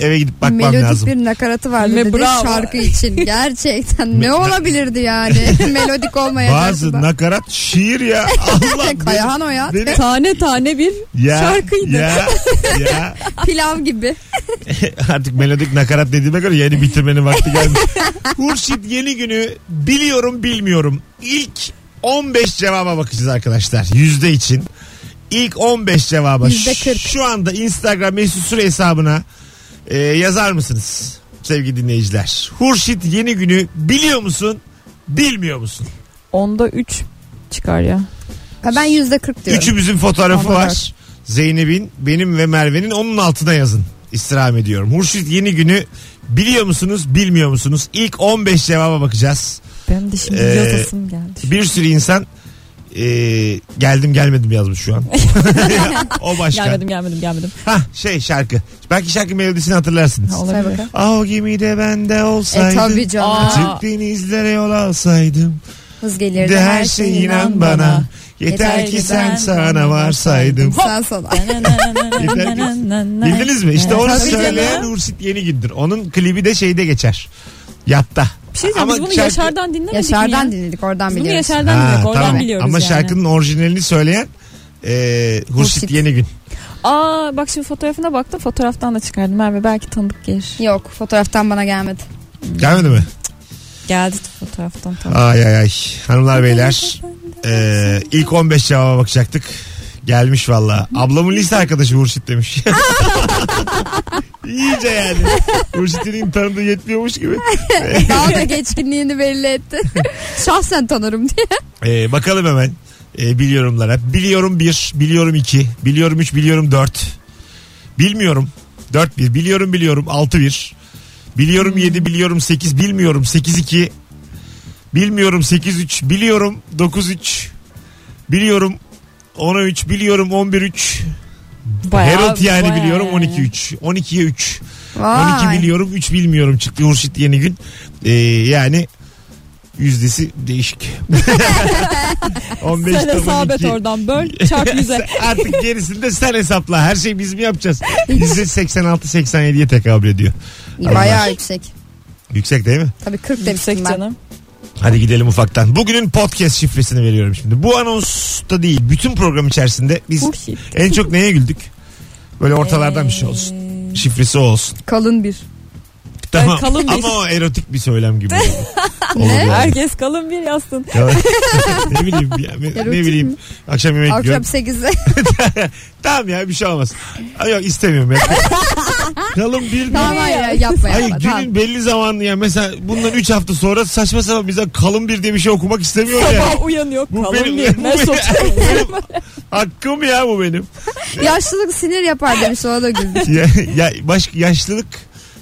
Speaker 2: e, eve gidip bakmam
Speaker 3: Melodik
Speaker 2: lazım.
Speaker 3: bir nakaratı vardı
Speaker 4: Ve
Speaker 3: dedi
Speaker 4: bravo.
Speaker 3: şarkı için. Gerçekten ne olabilirdi yani?
Speaker 2: [LAUGHS]
Speaker 3: Melodik olmayan
Speaker 2: Bazı
Speaker 3: şarkıda.
Speaker 2: nakarat şiir ya. Allah
Speaker 3: Kayahan Oyat
Speaker 2: benim-
Speaker 3: ve
Speaker 4: Tane tane bir
Speaker 2: ya,
Speaker 4: şarkıydı.
Speaker 2: Ya, ya.
Speaker 3: pilav gibi.
Speaker 2: [LAUGHS] Artık melodik nakarat dediğime göre yeni bitirmenin vakti
Speaker 3: [LAUGHS]
Speaker 2: gelmiş. Hurşit yeni günü biliyorum bilmiyorum. İlk 15 cevaba bakacağız arkadaşlar. Yüzde için. İlk 15 cevaba
Speaker 3: Yüzde kırk.
Speaker 2: şu anda Instagram mesut süre hesabına e, yazar mısınız sevgili dinleyiciler? Hurşit yeni günü biliyor musun? Bilmiyor musun?
Speaker 4: Onda 3 çıkar ya.
Speaker 3: Ha, ben yüzde kırk diyorum.
Speaker 2: Üçümüzün fotoğrafı
Speaker 3: Anladım.
Speaker 2: var. Zeynep'in, benim ve Merve'nin onun altına yazın. İstirham ediyorum. Hurşit yeni günü biliyor musunuz, bilmiyor musunuz? İlk 15 cevaba bakacağız.
Speaker 4: Benim de şimdi
Speaker 2: Ee,
Speaker 4: yazasım geldi.
Speaker 2: Bir sürü insan e, geldim gelmedim yazmış şu an. o başka.
Speaker 4: Gelmedim gelmedim gelmedim.
Speaker 2: Hah şey şarkı. Belki şarkı melodisini hatırlarsınız.
Speaker 4: Ha,
Speaker 3: Say
Speaker 4: olabilir.
Speaker 3: bakalım.
Speaker 2: Ah o gemide bende
Speaker 3: E
Speaker 2: olsaydım.
Speaker 3: tabii canım.
Speaker 4: Aa.
Speaker 2: Açık denizlere yol alsaydım.
Speaker 3: Hız gelirdi
Speaker 2: De her şey inan bana. Yeter
Speaker 4: Yeter
Speaker 2: ki
Speaker 4: ki
Speaker 2: sen
Speaker 4: ben
Speaker 2: sana
Speaker 4: sana
Speaker 2: varsaydım.
Speaker 3: Sen sola.
Speaker 4: [LAUGHS]
Speaker 2: Bildiniz mi? İşte onu
Speaker 4: Tabii
Speaker 2: söyleyen
Speaker 4: canım.
Speaker 2: Ursit Yeni Gündür. Onun klibi de şeyde geçer. Yatta.
Speaker 4: Bir şey diyeceğim
Speaker 2: Ama
Speaker 4: biz bunu
Speaker 2: şarkı-
Speaker 4: Yaşar'dan dinlemedik mi ya?
Speaker 3: Yaşar'dan dinledik oradan
Speaker 4: Biz bunu
Speaker 3: biliyoruz.
Speaker 4: Yaşar'dan
Speaker 2: Ha,
Speaker 4: dinledik oradan
Speaker 2: tamam.
Speaker 4: biliyoruz
Speaker 2: Ama
Speaker 4: yani.
Speaker 2: şarkının orijinalini söyleyen e, Hurşit,
Speaker 3: Hurşit.
Speaker 2: Yeni Gün.
Speaker 4: Aa bak şimdi fotoğrafına baktım fotoğraftan da çıkardım Merve belki tanıdık gelir.
Speaker 2: [LAUGHS]
Speaker 3: Yok fotoğraftan bana gelmedi.
Speaker 2: Gelmedi mi?
Speaker 4: Geldi fotoğraftan tamam.
Speaker 2: Ay ay ay. Hanımlar beyler. Ee, ilk 15 cevaba bakacaktık. Gelmiş valla. Ablamın lise arkadaşı Hurşit demiş. [LAUGHS] İyice yani. Hurşit'in tanıdığı yetmiyormuş gibi.
Speaker 3: Dalga geçkinliğini belli etti. [LAUGHS] Şahsen tanırım diye.
Speaker 2: Ee, bakalım hemen. Ee, biliyorumlara. Biliyorum 1, biliyorum 2, biliyorum 3, biliyorum 4. Bilmiyorum 4 1, biliyorum biliyorum 6 1.
Speaker 4: Hmm.
Speaker 2: Biliyorum 7, biliyorum 8, bilmiyorum 8 2. Bilmiyorum 8 3, biliyorum 9 3. Biliyorum 10 3, biliyorum 11 3. Herald yani
Speaker 4: bayağı
Speaker 2: biliyorum
Speaker 4: yani.
Speaker 2: 12 3. 12'ye 3.
Speaker 3: Vay.
Speaker 2: 12 biliyorum 3 bilmiyorum çıktı Hurşit yeni gün. Ee, yani yüzdesi
Speaker 4: [LAUGHS]
Speaker 2: değişik. 15
Speaker 4: Sen
Speaker 2: tam
Speaker 4: hesabet
Speaker 2: 12.
Speaker 4: oradan böl
Speaker 2: [LAUGHS]
Speaker 4: çarp yüze.
Speaker 2: Artık gerisini de sen hesapla. Her şeyi biz mi
Speaker 4: [LAUGHS]
Speaker 2: yapacağız? Yüzde 86-87'ye tekabül ediyor.
Speaker 3: Bayağı yüksek.
Speaker 2: Yüksek değil mi?
Speaker 3: Tabii 40 demiştim
Speaker 4: Yüksek
Speaker 3: ben.
Speaker 4: canım.
Speaker 2: Hadi gidelim ufaktan. Bugünün podcast şifresini veriyorum şimdi. Bu anonsta değil. Bütün program içerisinde biz
Speaker 3: şey.
Speaker 4: Hurşit.
Speaker 2: en çok neye güldük? Böyle ortalardan bir şey olsun.
Speaker 4: Ee,
Speaker 2: Şifresi olsun.
Speaker 3: Kalın bir.
Speaker 2: Tamam.
Speaker 4: kalın bir-
Speaker 2: Ama o erotik bir söylem
Speaker 4: [LAUGHS]
Speaker 2: gibi. Olur
Speaker 3: Ne?
Speaker 2: yani.
Speaker 4: Herkes kalın bir
Speaker 2: [LAUGHS]
Speaker 4: yazsın.
Speaker 2: Ya- ne bileyim ya, ne,
Speaker 3: Erotik
Speaker 2: ne bileyim
Speaker 3: mi?
Speaker 2: akşam yemek
Speaker 3: Akşam
Speaker 2: yiyorum.
Speaker 3: 8'de.
Speaker 2: Tamam ya bir şey olmaz. Ay yok istemiyorum ya. Kalın bir
Speaker 3: [LAUGHS] tamam hayır hayır, yapma
Speaker 2: Hayır
Speaker 3: yapma.
Speaker 2: günün
Speaker 3: Tamam.
Speaker 2: belli zamanı ya mesela bundan 3 hafta sonra saçma sapan bize kalın bir diye bir şey okumak istemiyorum ya.
Speaker 4: Sabah uyanıyor
Speaker 2: Bu
Speaker 4: kalın
Speaker 2: benim- [LAUGHS]
Speaker 4: bir.
Speaker 2: bu
Speaker 4: Ne
Speaker 2: benim-
Speaker 4: sokuyor?
Speaker 2: Benim- hakkım ya bu benim.
Speaker 3: Yaşlılık sinir yapar demiş ona da [LAUGHS] güldük.
Speaker 2: Ya, ya baş, yaşlılık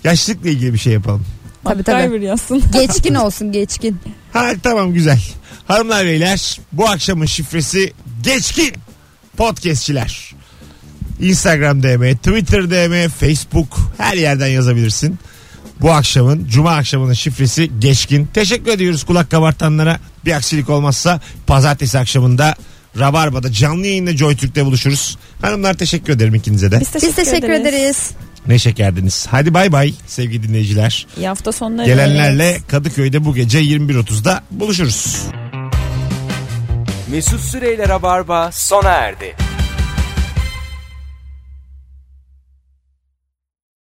Speaker 2: yaşlılıkla ilgili bir şey yapalım.
Speaker 3: Tabii, tabii.
Speaker 4: MacGyver yazsın.
Speaker 3: Geçkin olsun geçkin.
Speaker 2: Ha tamam güzel. Hanımlar beyler bu akşamın şifresi geçkin podcastçiler. Instagram DM, Twitter DM, Facebook her yerden yazabilirsin. Bu akşamın cuma akşamının şifresi geçkin. Teşekkür ediyoruz kulak kabartanlara. Bir aksilik olmazsa pazartesi akşamında Rabarba'da canlı yayında Joy Türk'te buluşuruz. Hanımlar teşekkür ederim ikinize de.
Speaker 3: Biz teşekkür ederiz.
Speaker 2: Ne şekerdiniz. Hadi bay bay sevgili dinleyiciler.
Speaker 4: İyi hafta sonları.
Speaker 2: Gelenlerle Kadıköy'de bu gece 21.30'da buluşuruz.
Speaker 1: Mesut Süreyler'e barba sona erdi.